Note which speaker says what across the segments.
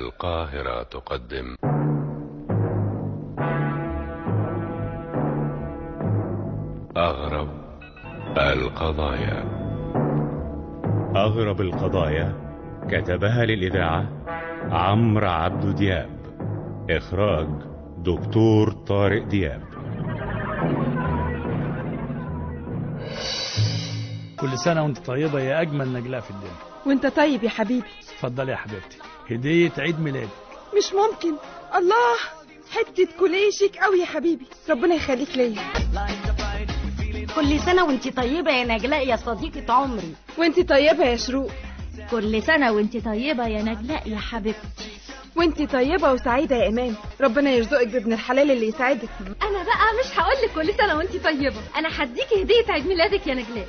Speaker 1: القاهرة تقدم أغرب القضايا
Speaker 2: أغرب القضايا كتبها للإذاعة عمرو عبد دياب إخراج دكتور طارق دياب
Speaker 3: كل سنة وانت طيبة يا أجمل نجلاء في الدنيا
Speaker 4: وانت طيب يا حبيبي
Speaker 3: اتفضلي يا حبيبتي هدية عيد ميلادك
Speaker 4: مش ممكن الله حتة كوليه شيك قوي يا حبيبي ربنا يخليك ليا
Speaker 5: كل سنة وانت طيبة يا نجلاء يا صديقة عمري
Speaker 4: وانت طيبة يا شروق
Speaker 5: كل سنة وانت طيبة يا نجلاء يا حبيبتي
Speaker 4: وانت طيبة وسعيدة يا إيمان ربنا يرزقك بابن الحلال اللي يساعدك
Speaker 5: أنا بقى مش هقولك كل سنة وانت طيبة أنا هديكي هدية عيد ميلادك يا نجلاء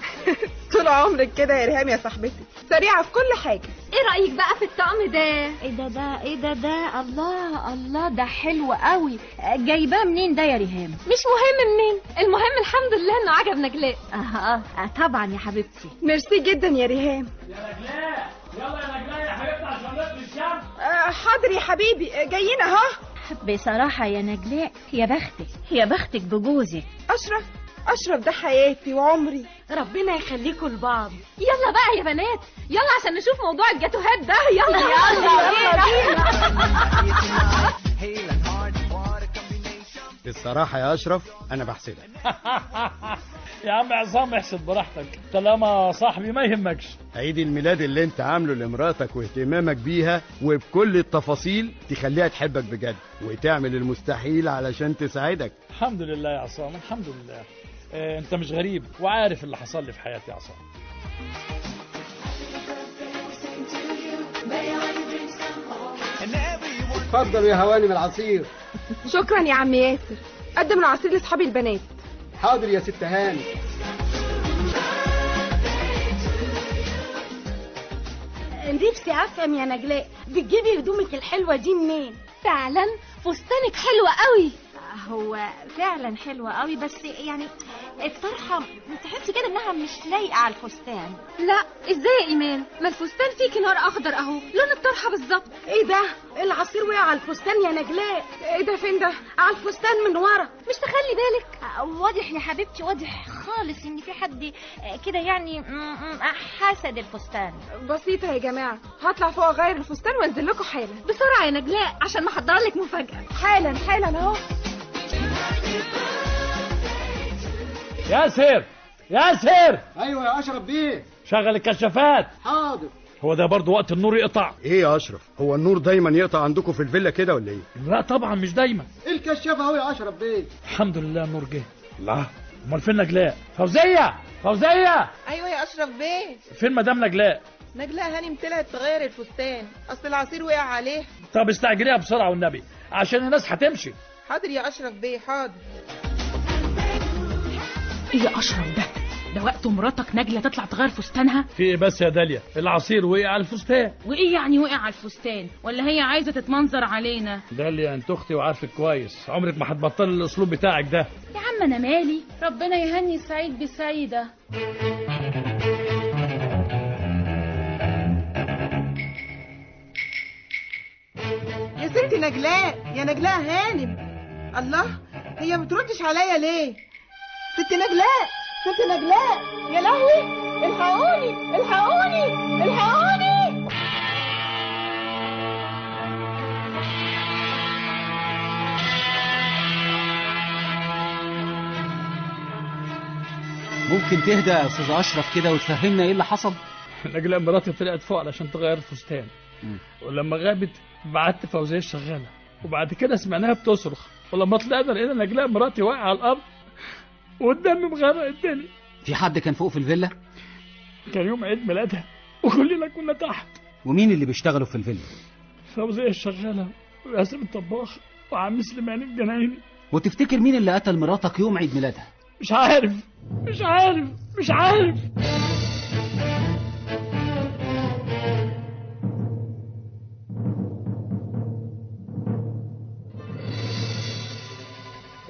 Speaker 4: طول عمرك كده يا إرهام يا صاحبتي سريعة في كل حاجة
Speaker 5: ايه رأيك بقى في الطقم ده ايه ده ده ايه ده ده الله الله ده حلو قوي جايباه منين ده يا ريهام مش مهم منين المهم الحمد لله انه عجب نجلاء اه اه آه، طبعا يا حبيبتي
Speaker 4: ميرسي جدا يا ريهام آه، حاضر يا حبيبي آه، جايين اهو
Speaker 5: بصراحة يا نجلاء يا بختك يا بختك بجوزك
Speaker 4: أشرف أشرف ده حياتي وعمري
Speaker 5: ربنا يخليكم لبعض يلا بقى يا بنات يلا عشان نشوف موضوع الجاتوهات ده يلا يلا بينا
Speaker 6: الصراحة يا أشرف أنا بحسدك
Speaker 3: يا عم عصام احسب براحتك طالما صاحبي ما يهمكش
Speaker 6: عيد الميلاد اللي أنت عامله لمراتك واهتمامك بيها وبكل التفاصيل تخليها تحبك بجد وتعمل المستحيل علشان تساعدك
Speaker 3: الحمد لله يا عصام الحمد لله اه انت مش غريب وعارف اللي حصل لي في حياتي يا عصام
Speaker 6: اتفضلوا يا هوانم العصير
Speaker 4: شكرا يا عم ياسر قدم العصير لأصحابي البنات
Speaker 6: حاضر يا ست هاني
Speaker 5: نفسي افهم يا نجلاء بتجيبي هدومك الحلوة دي منين فعلا فستانك حلوة قوي هو فعلا حلوة قوي بس يعني الطرحة تحس كده انها مش لايقة على الفستان لا ازاي يا ايمان ما الفستان فيه كنار اخضر اهو لون الطرحة بالظبط
Speaker 4: ايه ده العصير وقع على الفستان يا نجلاء ايه ده فين ده على الفستان من ورا
Speaker 5: مش تخلي بالك واضح يا حبيبتي واضح خالص ان في حد كده يعني م- م- حسد الفستان
Speaker 4: بسيطة يا جماعة هطلع فوق أغير الفستان وانزل لكم حالا
Speaker 5: بسرعة يا نجلاء عشان محضر لك مفاجأة
Speaker 4: حالا حالا اهو
Speaker 3: ياسر ياسر
Speaker 6: أيوة يا أشرف بيه
Speaker 3: شغل الكشافات
Speaker 6: حاضر
Speaker 3: هو ده برضه وقت النور يقطع
Speaker 6: إيه يا أشرف هو النور دايما يقطع عندكم في الفيلا كده ولا إيه؟
Speaker 3: لا طبعا مش دايما
Speaker 6: الكشاف أهو يا أشرف بيه
Speaker 3: الحمد لله النور جه لا امال فين نجلاء فوزية فوزية
Speaker 7: ايوه يا اشرف بيه
Speaker 3: فين مدام نجلاء
Speaker 7: نجلاء هانم طلعت تغير الفستان اصل العصير وقع عليه
Speaker 3: طب استعجليها بسرعة والنبي عشان الناس هتمشي
Speaker 7: حاضر يا اشرف بيه حاضر
Speaker 8: ايه يا اشرف ده ده وقت مراتك نجلة تطلع تغير فستانها
Speaker 3: في ايه بس يا داليا العصير وقع على الفستان
Speaker 8: وايه يعني وقع على الفستان ولا هي عايزة تتمنظر علينا
Speaker 3: داليا انت اختي وعارفك كويس عمرك ما هتبطل الاسلوب بتاعك ده
Speaker 8: يا عم انا مالي ربنا يهني سعيد بسعيدة
Speaker 7: يا ست نجلاء يا نجلاء هانم الله هي ما بتردش عليا ليه ست نجلاء ست نجلاء يا لهوي الحقوني الحقوني الحقوني
Speaker 9: ممكن تهدى يا استاذ اشرف كده وتفهمنا ايه اللي حصل
Speaker 3: نجلاء مراتي طلعت فوق علشان تغير فستان ولما غابت بعت فوزية الشغالة وبعد كده سمعناها بتصرخ ولما طلعنا لقينا نجلاء مراتي واقعة على الأرض والدم مغرق الدنيا
Speaker 9: في حد كان فوق في الفيلا
Speaker 3: كان يوم عيد ميلادها وكلنا كنا تحت
Speaker 9: ومين اللي بيشتغلوا في الفيلا
Speaker 3: فوزية الشغالة وياسم الطباخ وعم سليمان الجنايني
Speaker 9: وتفتكر مين اللي قتل مراتك يوم عيد ميلادها
Speaker 3: مش عارف مش عارف مش عارف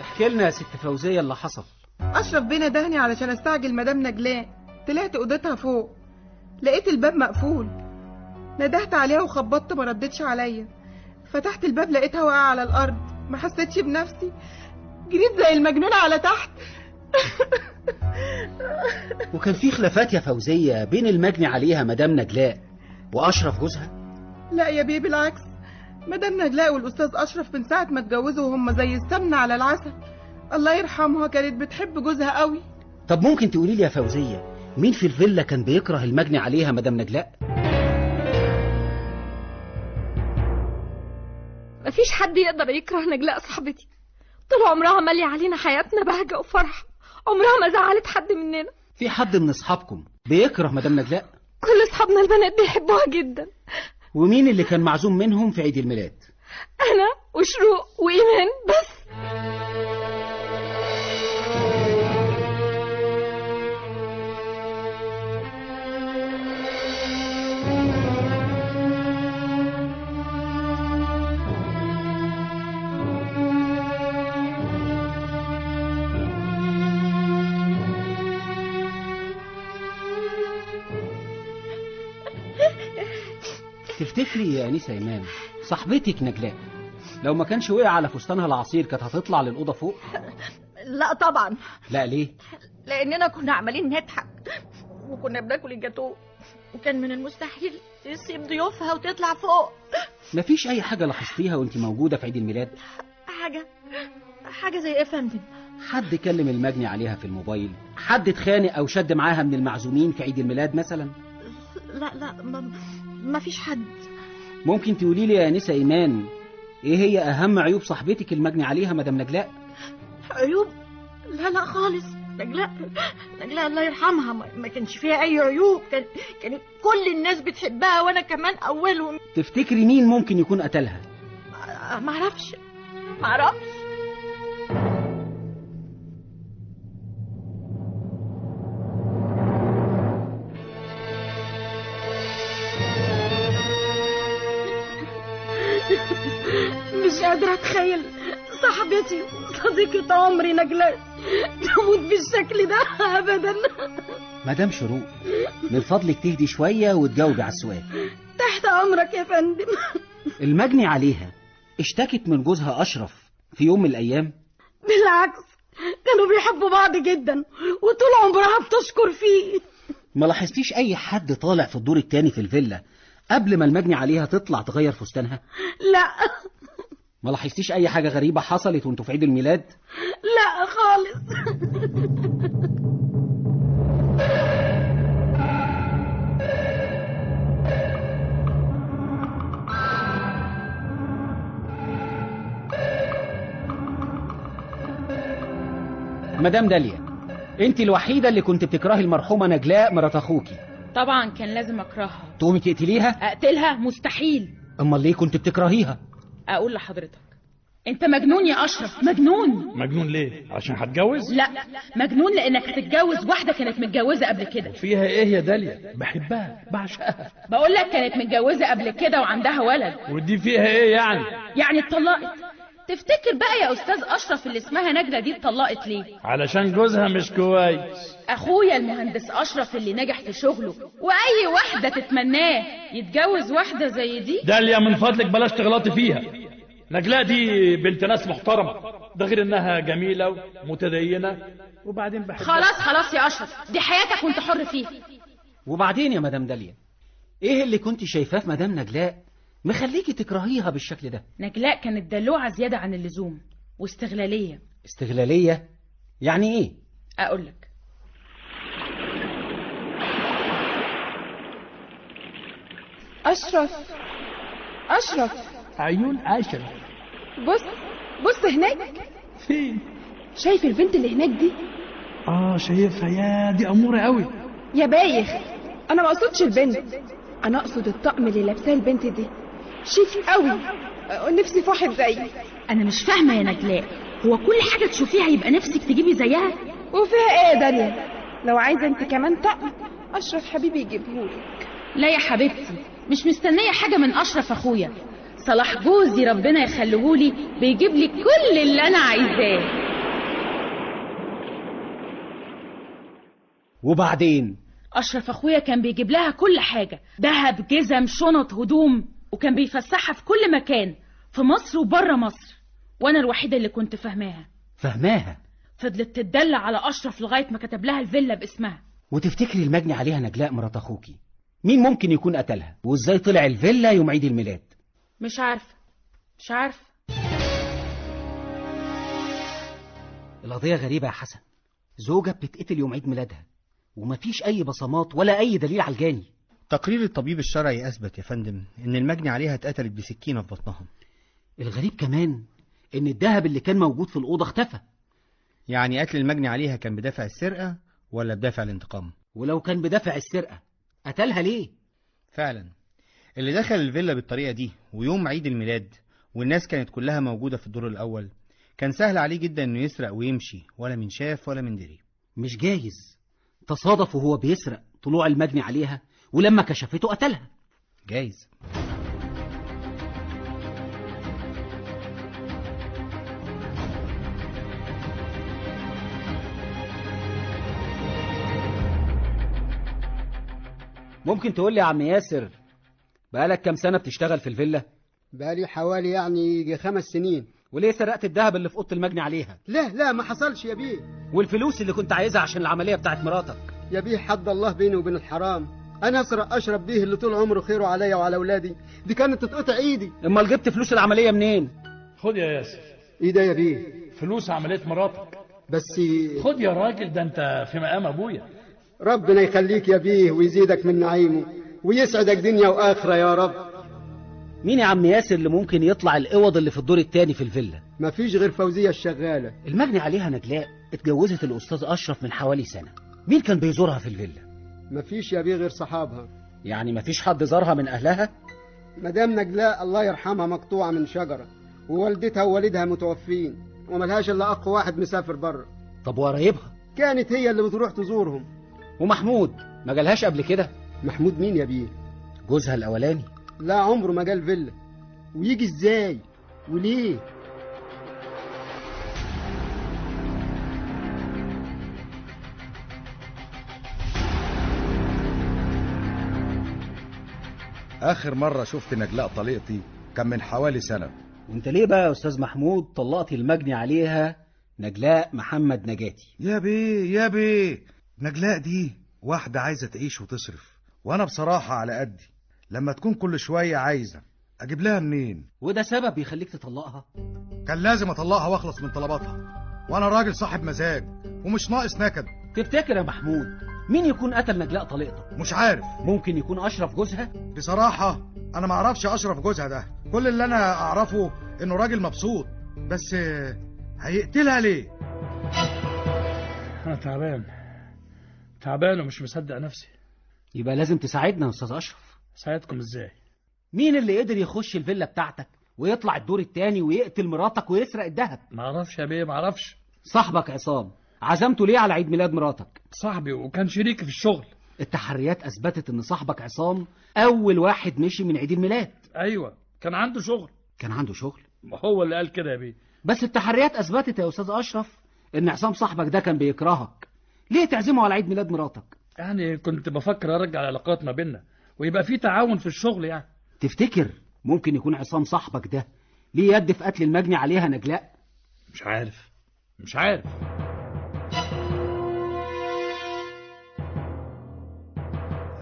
Speaker 9: احكي لنا يا ست فوزيه اللي حصل
Speaker 7: اشرف بيه ندهني علشان استعجل مدام نجلاء طلعت اوضتها فوق لقيت الباب مقفول ندهت عليها وخبطت ما ردتش عليا فتحت الباب لقيتها واقعه على الارض ما حسيتش بنفسي جريت زي المجنونه على تحت
Speaker 10: وكان في خلافات يا فوزية بين المجني عليها مدام نجلاء وأشرف جوزها
Speaker 7: لا يا بيه بالعكس مدام نجلاء والاستاذ اشرف من ساعه ما اتجوزوا وهم زي السمنه على العسل الله يرحمها كانت بتحب جوزها قوي
Speaker 10: طب ممكن تقولي لي يا فوزية مين في الفيلا كان بيكره المجني عليها مدام نجلاء
Speaker 11: مفيش حد يقدر يكره نجلاء صاحبتي طول عمرها مالية علينا حياتنا بهجة وفرح عمرها ما زعلت حد مننا
Speaker 9: في حد من أصحابكم بيكره مدام نجلاء
Speaker 11: كل اصحابنا البنات بيحبوها جدا
Speaker 9: ومين اللي كان معزوم منهم في عيد الميلاد
Speaker 11: انا وشروق وايمان بس
Speaker 9: تفتكري يا أنيسة إمام صاحبتك نجلاء لو ما كانش وقع على فستانها العصير كانت هتطلع للأوضة فوق
Speaker 5: لا طبعا
Speaker 9: لا ليه
Speaker 5: لاننا كنا عمالين نضحك وكنا بناكل الجاتو وكان من المستحيل تسيب ضيوفها وتطلع فوق
Speaker 9: مفيش أي حاجة لاحظتيها وأنت موجودة في عيد الميلاد
Speaker 5: حاجه حاجه زي ايه يا فندم
Speaker 9: حد كلم المجني عليها في الموبايل حد اتخانق أو شد معاها من المعزومين في عيد الميلاد مثلا
Speaker 5: لا لا ما, ما فيش حد
Speaker 9: ممكن تقولي لي يا أنسة إيمان إيه هي أهم عيوب صاحبتك المجني عليها مدام نجلاء
Speaker 5: عيوب لا لا خالص نجلاء نجلاء الله يرحمها ما ما كانش فيها اي عيوب كان كانت كل الناس بتحبها وانا كمان اولهم
Speaker 9: تفتكري مين ممكن يكون قتلها
Speaker 5: آه، ما اعرفش ما اعرفش
Speaker 12: مش قادرة أتخيل صاحبتي صديقة عمري نجلاء تموت بالشكل ده أبدا
Speaker 9: مدام شروق من فضلك تهدي شوية وتجاوبي على السؤال
Speaker 12: تحت أمرك يا فندم
Speaker 9: المجني عليها اشتكت من جوزها أشرف في يوم من الأيام
Speaker 12: بالعكس كانوا بيحبوا بعض جدا وطول عمرها بتشكر فيه
Speaker 9: ما لاحظتيش أي حد طالع في الدور التاني في الفيلا قبل ما المجني عليها تطلع تغير فستانها
Speaker 12: لا
Speaker 9: ما لاحظتيش أي حاجة غريبة حصلت وانتوا في عيد الميلاد
Speaker 12: لا خالص
Speaker 9: مدام داليا انت الوحيدة اللي كنت بتكرهي المرحومة نجلاء مرات أخوكي
Speaker 8: طبعا كان لازم اكرهها
Speaker 9: تقومي تقتليها
Speaker 8: اقتلها مستحيل
Speaker 9: أمال ليه كنت بتكرهيها
Speaker 8: اقول لحضرتك انت مجنون يا اشرف مجنون
Speaker 13: مجنون ليه عشان هتجوز
Speaker 8: لا مجنون لانك هتتجوز واحده كانت متجوزه قبل كده
Speaker 13: فيها ايه يا داليا بحبها بعشقها
Speaker 8: بقول لك كانت متجوزه قبل كده وعندها ولد
Speaker 13: ودي فيها ايه يعني
Speaker 8: يعني اتطلقت تفتكر بقى يا استاذ اشرف اللي اسمها نجله دي اتطلقت ليه
Speaker 13: علشان جوزها مش كويس
Speaker 8: اخويا المهندس اشرف اللي نجح في شغله واي واحده تتمناه يتجوز واحده زي دي
Speaker 13: داليا من فضلك بلاش تغلطي فيها نجلاء دي بنت ناس محترمة ده غير انها جميلة ومتدينة وبعدين بحبها
Speaker 8: خلاص خلاص يا اشرف دي حياتك وانت حر فيها
Speaker 9: وبعدين يا مدام داليا ايه اللي كنت شايفاه في مدام نجلاء مخليكي تكرهيها بالشكل ده
Speaker 8: نجلاء كانت دلوعه زياده عن اللزوم واستغلاليه
Speaker 9: استغلالية يعني ايه
Speaker 8: اقول لك
Speaker 4: أشرف أشرف
Speaker 13: عيون عشرة
Speaker 4: بص بص هناك
Speaker 13: فين
Speaker 4: شايف البنت اللي هناك دي
Speaker 13: اه شايفها يا دي امورة قوي
Speaker 4: يا بايخ أنا ما أقصدش البنت أنا أقصد الطقم اللي لابساه البنت دي شيك قوي أه، نفسي في واحد زيي
Speaker 8: انا مش فاهمه يا نجلاء هو كل حاجه تشوفيها يبقى نفسك تجيبي زيها
Speaker 4: وفيها إيه يا داليا لو عايزة أنت كمان طقم أشرف حبيبي يجيبهولي
Speaker 8: لا يا حبيبتي مش مستنيه حاجه من اشرف اخويا صلاح جوزي ربنا يخليهولي بيجيب لي كل اللي انا عايزاه
Speaker 9: وبعدين
Speaker 8: أشرف أخويا كان بيجيب لها كل حاجة دهب جزم شنط هدوم وكان بيفسحها في كل مكان في مصر وبره مصر وأنا الوحيدة اللي كنت فاهماها
Speaker 9: فهماها
Speaker 8: فضلت تدلع على أشرف لغاية ما كتب لها الفيلا باسمها
Speaker 9: وتفتكري المجني عليها نجلاء مرات اخوكي مين ممكن يكون قتلها وازاي طلع الفيلا يوم عيد الميلاد
Speaker 8: مش عارفة مش عارفة
Speaker 9: القضيه غريبه يا حسن زوجة بتتقتل يوم عيد ميلادها ومفيش اي بصمات ولا اي دليل على الجاني
Speaker 14: تقرير الطبيب الشرعي أثبت يا فندم إن المجني عليها اتقتلت بسكينة في بطنها
Speaker 9: الغريب كمان إن الذهب اللي كان موجود في الأوضة اختفى
Speaker 14: يعني قتل المجني عليها كان بدافع السرقة ولا بدافع الانتقام
Speaker 9: ولو كان بدافع السرقة قتلها ليه؟
Speaker 14: فعلا اللي دخل الفيلا بالطريقة دي ويوم عيد الميلاد والناس كانت كلها موجودة في الدور الأول كان سهل عليه جدا إنه يسرق ويمشي ولا من شاف ولا من دري
Speaker 9: مش جايز تصادف وهو بيسرق طلوع المجني عليها ولما كشفته قتلها
Speaker 14: جايز
Speaker 9: ممكن تقول لي يا عم ياسر بقالك كام سنة بتشتغل في الفيلا؟
Speaker 10: بقالي حوالي يعني يجي خمس سنين
Speaker 9: وليه سرقت الذهب اللي في أوضة المجني عليها؟
Speaker 10: لا لا ما حصلش يا بيه
Speaker 9: والفلوس اللي كنت عايزها عشان العملية بتاعت مراتك
Speaker 10: يا بيه حد الله بيني وبين الحرام انا اسرق اشرب بيه اللي طول عمره خيره عليا وعلى اولادي دي كانت تتقطع ايدي
Speaker 9: امال جبت فلوس العملية منين؟
Speaker 13: خد يا ياسر
Speaker 10: ايه ده يا بيه
Speaker 13: فلوس عمليه مراتك
Speaker 10: بس
Speaker 13: خد يا راجل ده انت في مقام ابويا
Speaker 10: ربنا يخليك يا بيه ويزيدك من نعيمه ويسعدك دنيا واخره يا رب
Speaker 9: مين يا عم ياسر اللي ممكن يطلع الأوض اللي في الدور التاني في الفيلا؟
Speaker 10: مفيش غير فوزيه الشغاله
Speaker 9: المجني عليها نجلاء اتجوزت الأستاذ أشرف من حوالي سنة مين كان بيزورها في الفيلا؟
Speaker 10: مفيش يا بيه غير صحابها
Speaker 9: يعني مفيش حد زارها من أهلها؟
Speaker 10: مدام نجلاء الله يرحمها مقطوعه من شجره ووالدتها ووالدها متوفين وملهاش الا اخ واحد مسافر بره
Speaker 9: طب وقرايبها؟
Speaker 10: كانت هي اللي بتروح تزورهم
Speaker 9: ومحمود ما جالهاش قبل كده؟
Speaker 10: محمود مين يا بيه
Speaker 9: جوزها الأولاني
Speaker 10: لا عمره ما جال فيلا ويجي ازاي وليه
Speaker 6: آخر مرة شفت نجلاء طليقتي كان من حوالي سنة
Speaker 9: وانت ليه بقى يا أستاذ محمود طلقت المجني عليها نجلاء محمد نجاتي؟
Speaker 6: يا بيه يا بيه نجلاء دي واحدة عايزة تعيش وتصرف وأنا بصراحة على قدي لما تكون كل شوية عايزة أجيب لها منين
Speaker 9: وده سبب يخليك تطلقها؟
Speaker 6: كان لازم أطلقها وأخلص من طلباتها وأنا راجل صاحب مزاج ومش ناقص نكد
Speaker 9: تفتكر يا محمود مين يكون قتل نجلاء طليقته؟
Speaker 6: مش عارف
Speaker 9: ممكن يكون أشرف جوزها؟
Speaker 6: بصراحة أنا ما أعرفش أشرف جوزها ده كل اللي أنا أعرفه إنه راجل مبسوط بس آه، هيقتلها ليه
Speaker 3: انا تعبان تعبان ومش مصدق نفسي
Speaker 9: يبقى لازم تساعدنا يا أستاذ أشرف
Speaker 3: ساعدكم ازاي
Speaker 9: مين اللي قدر يخش الفيلا بتاعتك ويطلع الدور التاني ويقتل مراتك ويسرق الذهب؟
Speaker 3: معرفش يا بيه معرفش
Speaker 9: صاحبك عصام عزمته ليه على عيد ميلاد مراتك؟
Speaker 3: صاحبي وكان شريكي في الشغل
Speaker 9: التحريات أثبتت إن صاحبك عصام أول واحد مشي من عيد الميلاد
Speaker 3: ايوه كان عنده شغل
Speaker 9: كان عنده شغل
Speaker 3: هو اللي قال كده يا بيه
Speaker 9: بس التحريات أثبتت يا أستاذ أشرف إن عصام صاحبك ده كان بيكرهك ليه تعزمه على عيد ميلاد مراتك؟
Speaker 3: يعني كنت بفكر ارجع العلاقات ما بيننا ويبقى في تعاون في الشغل يعني
Speaker 9: تفتكر ممكن يكون عصام صاحبك ده ليه يد في قتل المجني عليها نجلاء؟
Speaker 3: مش عارف مش عارف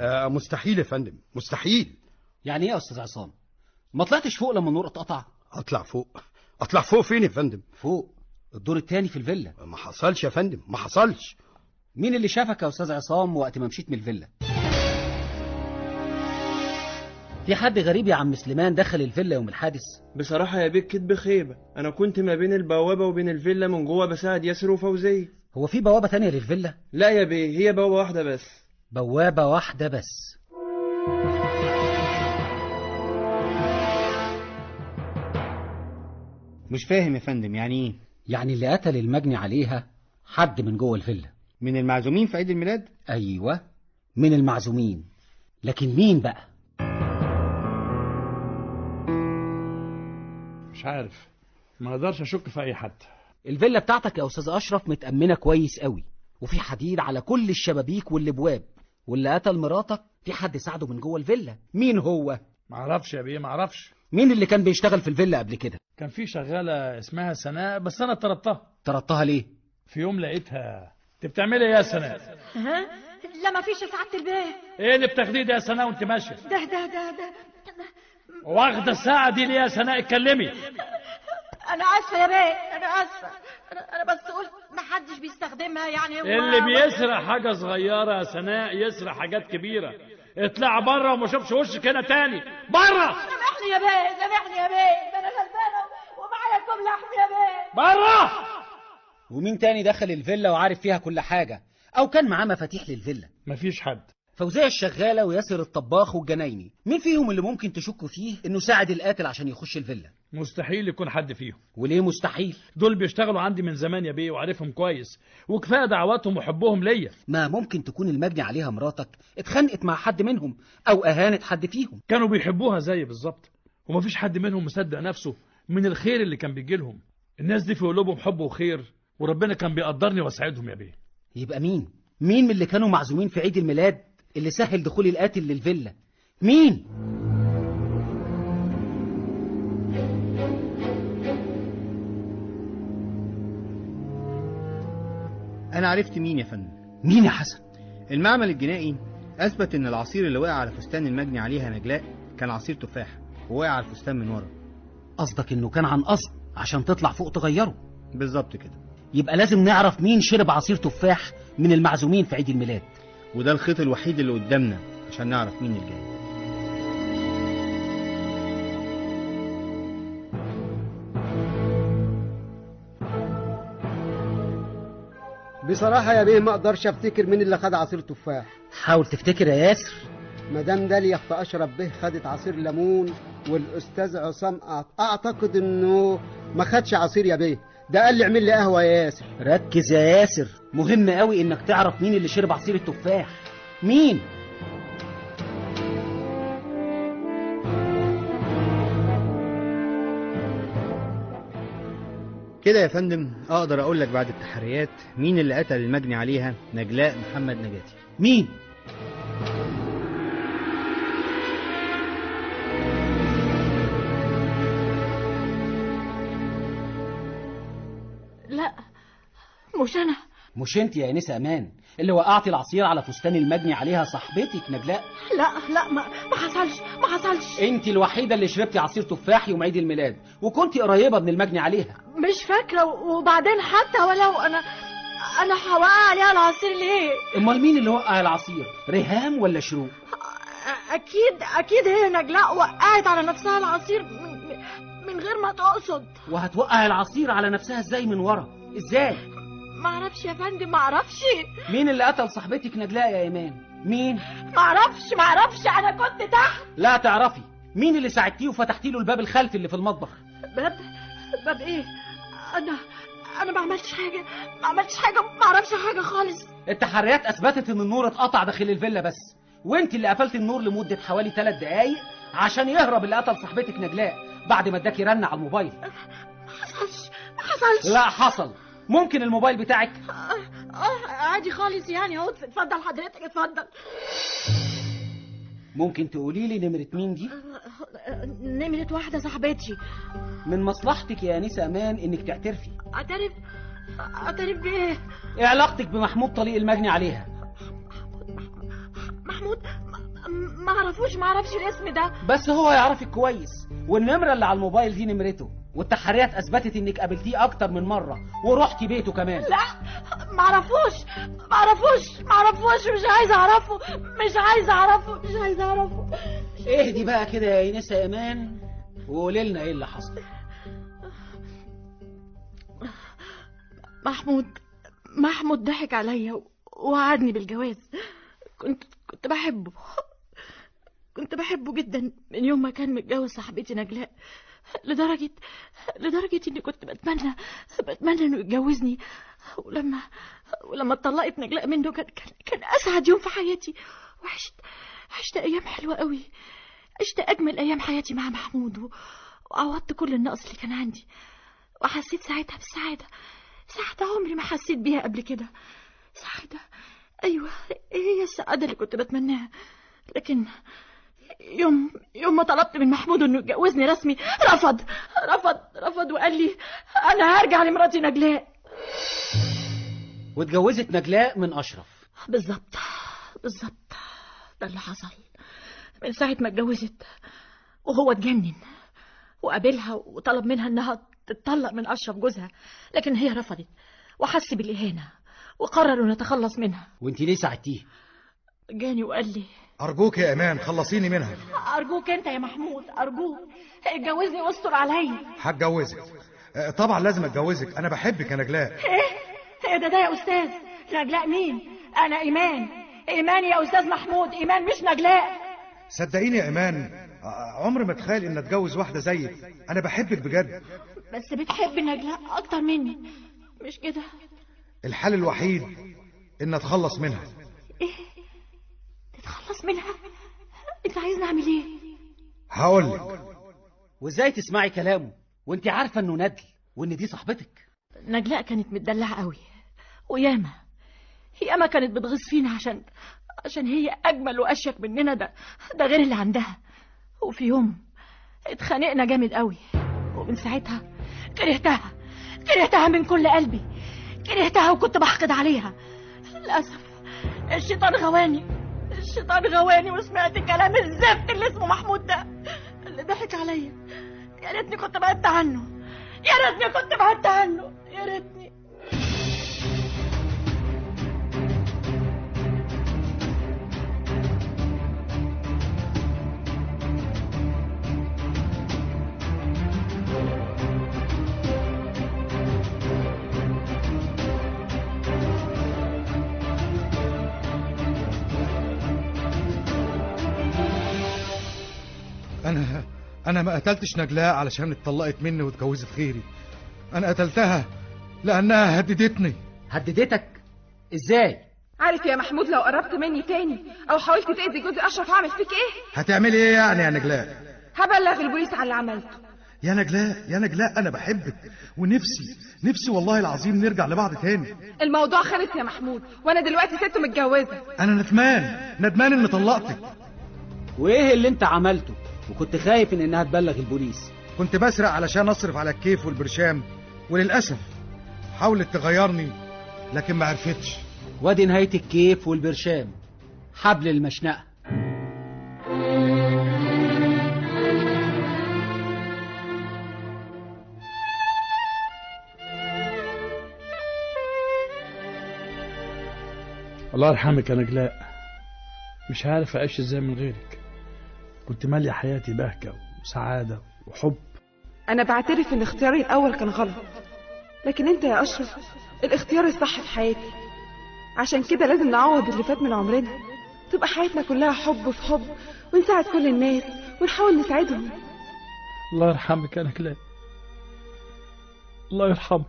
Speaker 15: آه مستحيل يا فندم مستحيل
Speaker 9: يعني إيه يا أستاذ عصام؟ ما طلعتش فوق لما النور اتقطع؟
Speaker 15: اطلع فوق اطلع فوق فين يا فندم
Speaker 9: فوق الدور التاني في الفيلا
Speaker 15: ما حصلش يا فندم ما حصلش
Speaker 9: مين اللي شافك يا أستاذ عصام وقت ما مشيت من الفيلا؟ في حد غريب يا عم سليمان دخل الفيلا يوم الحادث
Speaker 16: بصراحة يا بيك كدب خيبة أنا كنت ما بين البوابة وبين الفيلا من جوه بساعد ياسر وفوزية
Speaker 9: هو في بوابة تانية للفيلا؟
Speaker 16: لا يا بيه هي بوابة واحدة بس
Speaker 9: بوابة واحدة بس
Speaker 14: مش فاهم يا فندم يعني إيه؟
Speaker 9: يعني اللي قتل المجني عليها حد من جوه الفيلا
Speaker 14: من المعزومين في عيد الميلاد؟
Speaker 9: أيوة من المعزومين لكن مين بقى؟
Speaker 3: مش عارف ما اقدرش اشك في اي حد
Speaker 9: الفيلا بتاعتك يا أستاذ أشرف متأمنة كويس قوي وفي حديد على كل الشبابيك والأبواب واللي قتل مراتك في حد ساعده من جوه الفيلا مين هو
Speaker 3: معرفش يا بيه معرفش
Speaker 9: مين اللي كان بيشتغل في الفيلا قبل كده
Speaker 3: كان في شغالة اسمها سناء بس أنا طردتها
Speaker 9: طردتها ليه
Speaker 3: في يوم لقيتها أنت بتعملي إيه يا سناء؟
Speaker 5: ها لا ما فيش يا سعاده البيه
Speaker 3: إيه اللي بتاخديه ده يا سناء وأنت ماشية؟
Speaker 5: ده ده ده ده
Speaker 3: واخدة الساعة دي ليه يا سناء اتكلمي؟
Speaker 5: انا اسفه يا بيه انا اسفه انا انا بس قلت ما حدش بيستخدمها يعني هو-
Speaker 3: اللي بيسرق حاجة صغيرة يا سناء يسرق حاجات كبيرة اطلع بره وما اشوفش وشك هنا تاني بره
Speaker 5: سامحني يا بيه سامحني يا بيه ده انا غلبانه ومعايا كم لحم يا بيه
Speaker 3: بره
Speaker 9: ومين تاني دخل الفيلا وعارف فيها كل حاجة أو كان معاه مفاتيح للفيلا
Speaker 3: مفيش حد
Speaker 9: فوزية الشغالة وياسر الطباخ والجنايني مين فيهم اللي ممكن تشكوا فيه إنه ساعد القاتل عشان يخش الفيلا
Speaker 3: مستحيل يكون حد فيهم
Speaker 9: وليه مستحيل
Speaker 3: دول بيشتغلوا عندي من زمان يا بيه وعارفهم كويس وكفايه دعواتهم وحبهم ليا
Speaker 9: ما ممكن تكون المجني عليها مراتك اتخانقت مع حد منهم أو أهانت حد فيهم
Speaker 3: كانوا بيحبوها زي بالظبط ومفيش حد منهم مصدق نفسه من الخير اللي كان بيجي لهم الناس دي في قلوبهم حب وخير وربنا كان بيقدرني واساعدهم يا بيه
Speaker 9: يبقى مين مين من اللي كانوا معزومين في عيد الميلاد اللي سهل دخول القاتل للفيلا مين
Speaker 14: أنا عرفت مين يا فندم
Speaker 9: مين يا حسن
Speaker 14: المعمل الجنائي أثبت إن العصير اللي وقع على فستان المجني عليها نجلاء كان عصير تفاح ووقع على الفستان من ورا
Speaker 9: قصدك إنه كان عن قصد عشان تطلع فوق تغيره
Speaker 14: بالظبط كده
Speaker 9: يبقى لازم نعرف مين شرب عصير تفاح من المعزومين في عيد الميلاد
Speaker 14: وده الخيط الوحيد اللي قدامنا عشان نعرف مين اللي جاي
Speaker 10: بصراحة يا بيه ما اقدرش افتكر مين اللي خد عصير تفاح
Speaker 9: حاول تفتكر يا ياسر
Speaker 10: مدام داليا اخت اشرف به خدت عصير ليمون والاستاذ عصام أعت- اعتقد انه ما خدش عصير يا بيه ده قال لي اعمل لي قهوة يا ياسر
Speaker 9: ركز يا ياسر مهم قوي انك تعرف مين اللي شرب عصير التفاح مين
Speaker 14: كده يا فندم أقدر أقول لك بعد التحريات مين اللي قتل المجني عليها نجلاء محمد نجاتي
Speaker 9: مين
Speaker 5: لا مش انا
Speaker 9: مش انت يا انسه امان اللي وقعت العصير على فستان المجني عليها صاحبتك نجلاء
Speaker 5: لا لا ما ما حصلش ما حصلش
Speaker 9: انت الوحيده اللي شربتي عصير تفاح يوم عيد الميلاد وكنت قريبه من المجني عليها
Speaker 5: مش فاكره وبعدين حتى ولو انا انا هوقع عليها العصير ليه
Speaker 9: امال مين اللي وقع العصير ريهام ولا شروق
Speaker 5: اكيد اكيد هي نجلاء وقعت على نفسها العصير من, من غير ما تقصد
Speaker 9: وهتوقع العصير على نفسها ازاي من ورا ازاي
Speaker 5: ما اعرفش يا فندم ما اعرفش
Speaker 9: مين اللي قتل صاحبتك نجلاء يا ايمان مين
Speaker 5: ما اعرفش ما اعرفش انا كنت تحت
Speaker 9: لا تعرفي مين اللي ساعدتيه وفتحتي له الباب الخلفي اللي في المطبخ
Speaker 5: باب باب ايه انا انا ما عملتش حاجه ما عملتش حاجه ما اعرفش حاجه خالص
Speaker 9: التحريات اثبتت ان النور اتقطع داخل الفيلا بس وانت اللي قفلت النور لمده حوالي ثلاث دقائق عشان يهرب اللي قتل صاحبتك نجلاء بعد ما اداكي رن على الموبايل
Speaker 5: ما حصلش
Speaker 9: لا حصل ممكن الموبايل بتاعك
Speaker 5: اه عادي خالص يعني اهو اتفضل حضرتك اتفضل
Speaker 9: ممكن تقولي لي نمره مين دي
Speaker 5: نمرة واحدة صاحبتي
Speaker 9: من مصلحتك يا انسه امان انك تعترفي
Speaker 5: اعترف اعترف بايه؟
Speaker 9: ايه علاقتك بمحمود طليق المجني عليها
Speaker 5: محمود ما- ما اعرفوش ما اعرفش الاسم ده
Speaker 9: بس هو يعرفك كويس والنمره اللي على الموبايل دي نمرته والتحريات اثبتت انك قابلتيه اكتر من مره ورحتي بيته كمان
Speaker 5: لا ما اعرفوش ما اعرفوش ما اعرفوش مش عايزه اعرفه مش عايزه اعرفه مش عايزه اعرفه
Speaker 9: اهدي بقى كده يا ايناس يا امان وقولي لنا ايه اللي حصل
Speaker 5: محمود محمود ضحك عليا و- ووعدني بالجواز كنت كنت بحبه كنت بحبه جدا من يوم ما كان متجوز صاحبتي نجلاء لدرجة لدرجة اني كنت بتمنى بتمنى انه يتجوزني ولما ولما اتطلقت نجلاء منه كان كان, كان اسعد يوم في حياتي وعشت عشت ايام حلوة قوي عشت اجمل ايام حياتي مع محمود و- وعوضت كل النقص اللي كان عندي وحسيت ساعتها بالسعادة سعادة عمري ما حسيت بيها قبل كده سعادة ايوه هي السعاده اللي كنت بتمناها لكن يوم يوم ما طلبت من محمود انه يتجوزني رسمي رفض رفض رفض وقال لي انا هرجع لمراتي نجلاء
Speaker 9: واتجوزت نجلاء من اشرف
Speaker 5: بالظبط بالظبط ده اللي حصل من ساعة ما اتجوزت وهو اتجنن وقابلها وطلب منها انها تتطلق من اشرف جوزها لكن هي رفضت وحس بالاهانة وقرروا نتخلص منها
Speaker 9: وانت ليه ساعدتيه
Speaker 5: جاني وقال لي
Speaker 6: أرجوك يا إيمان خلصيني منها
Speaker 5: ارجوك انت يا محمود ارجوك اتجوزني واستر عليا
Speaker 6: هتجوزك آه، طبعا لازم اتجوزك أنا بحبك يا نجلاء
Speaker 5: ايه ايه ده ده يا استاذ نجلاء مين انا ايمان ايمان يا استاذ محمود إيه؟ ايمان مش نجلاء
Speaker 6: صدقيني يا إيمان آه، عمري ما اتخيل إن أتجوز واحدة زيك أنا بحبك بجد
Speaker 5: بس بتحب نجلاء اكتر مني مش كده
Speaker 6: الحل الوحيد إن أتخلص منها
Speaker 5: ايه تتخلص منها انت عايزني اعمل ايه
Speaker 6: هقول لك
Speaker 9: وازاي تسمعي كلامه وانت عارفه انه ندل وان دي صاحبتك
Speaker 5: نجلاء كانت متدلعة قوي وياما ياما كانت بتغيظ فينا عشان عشان هي أجمل وأشيك مننا ده ده غير اللي عندها وفي يوم اتخانقنا جامد قوي ومن ساعتها كرهتها كرهتها من كل قلبي كرهتها وكنت بحقد عليها للأسف الشيطان غواني الشيطان غواني وسمعت كلام الزفت اللي اسمه محمود ده اللي ضحك عليا يا ريتني كنت بعدت عنه يا ريتني كنت بعدت عنه يا ريتني
Speaker 6: أنا أنا ما قتلتش نجلاء علشان اتطلقت مني واتجوزت غيري أنا قتلتها لأنها هددتني
Speaker 9: هددتك؟ إزاي؟
Speaker 4: عارف يا محمود لو قربت مني تاني او حاولت تاذي جوزي اشرف هعمل فيك ايه
Speaker 6: هتعملي إيه يعني يا نجلاء؟
Speaker 4: هبلغ البوليس على اللي عملته
Speaker 6: يا نجلاء يا نجلاء أنا بحبك ونفسي نفسي والله العظيم نرجع لبعض تاني
Speaker 4: الموضوع خلص يا محمود وانا دلوقتي ست متجوزه
Speaker 6: أنا ندمان ندمان إني طلقتك
Speaker 9: وايه اللي انت عملته وكنت خايف ان انها تبلغ البوليس
Speaker 6: كنت بسرق علشان أصرف على الكيف والبرشام وللأسف حاولت تغيرني لكن ما عرفتش
Speaker 9: وادي نهايه الكيف والبرشام حبل المشنقه
Speaker 3: الله يرحمك يا نجلاء مش عارف أعيش إزاي من غيرك كنت مالية حياتي بهجة وسعادة وحب
Speaker 4: انا بعترف ان اختياري الاول كان غلط لكن انت يا اشرف الاختيار الصح في حياتي عشان كده لازم نعوض اللي فات من عمرنا تبقى حياتنا كلها حب في حب ونساعد كل الناس ونحاول نساعدهم
Speaker 3: الله يرحمك يا نجلاء الله يرحمك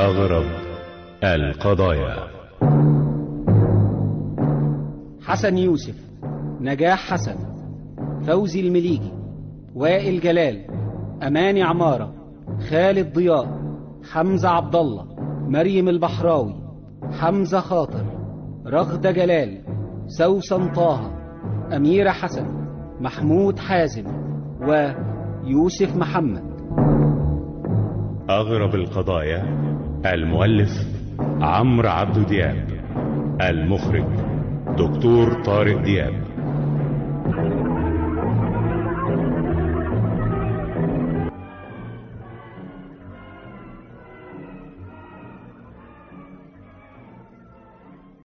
Speaker 2: أغرب القضايا
Speaker 9: حسن يوسف نجاح حسن فوزي المليجي وائل جلال أماني عمارة خالد ضياء حمزة عبد الله مريم البحراوي حمزة خاطر رغدة جلال سوسن طه أميرة حسن محمود حازم ويوسف محمد
Speaker 2: أغرب القضايا المؤلف عمرو عبد دياب المخرج دكتور طارق دياب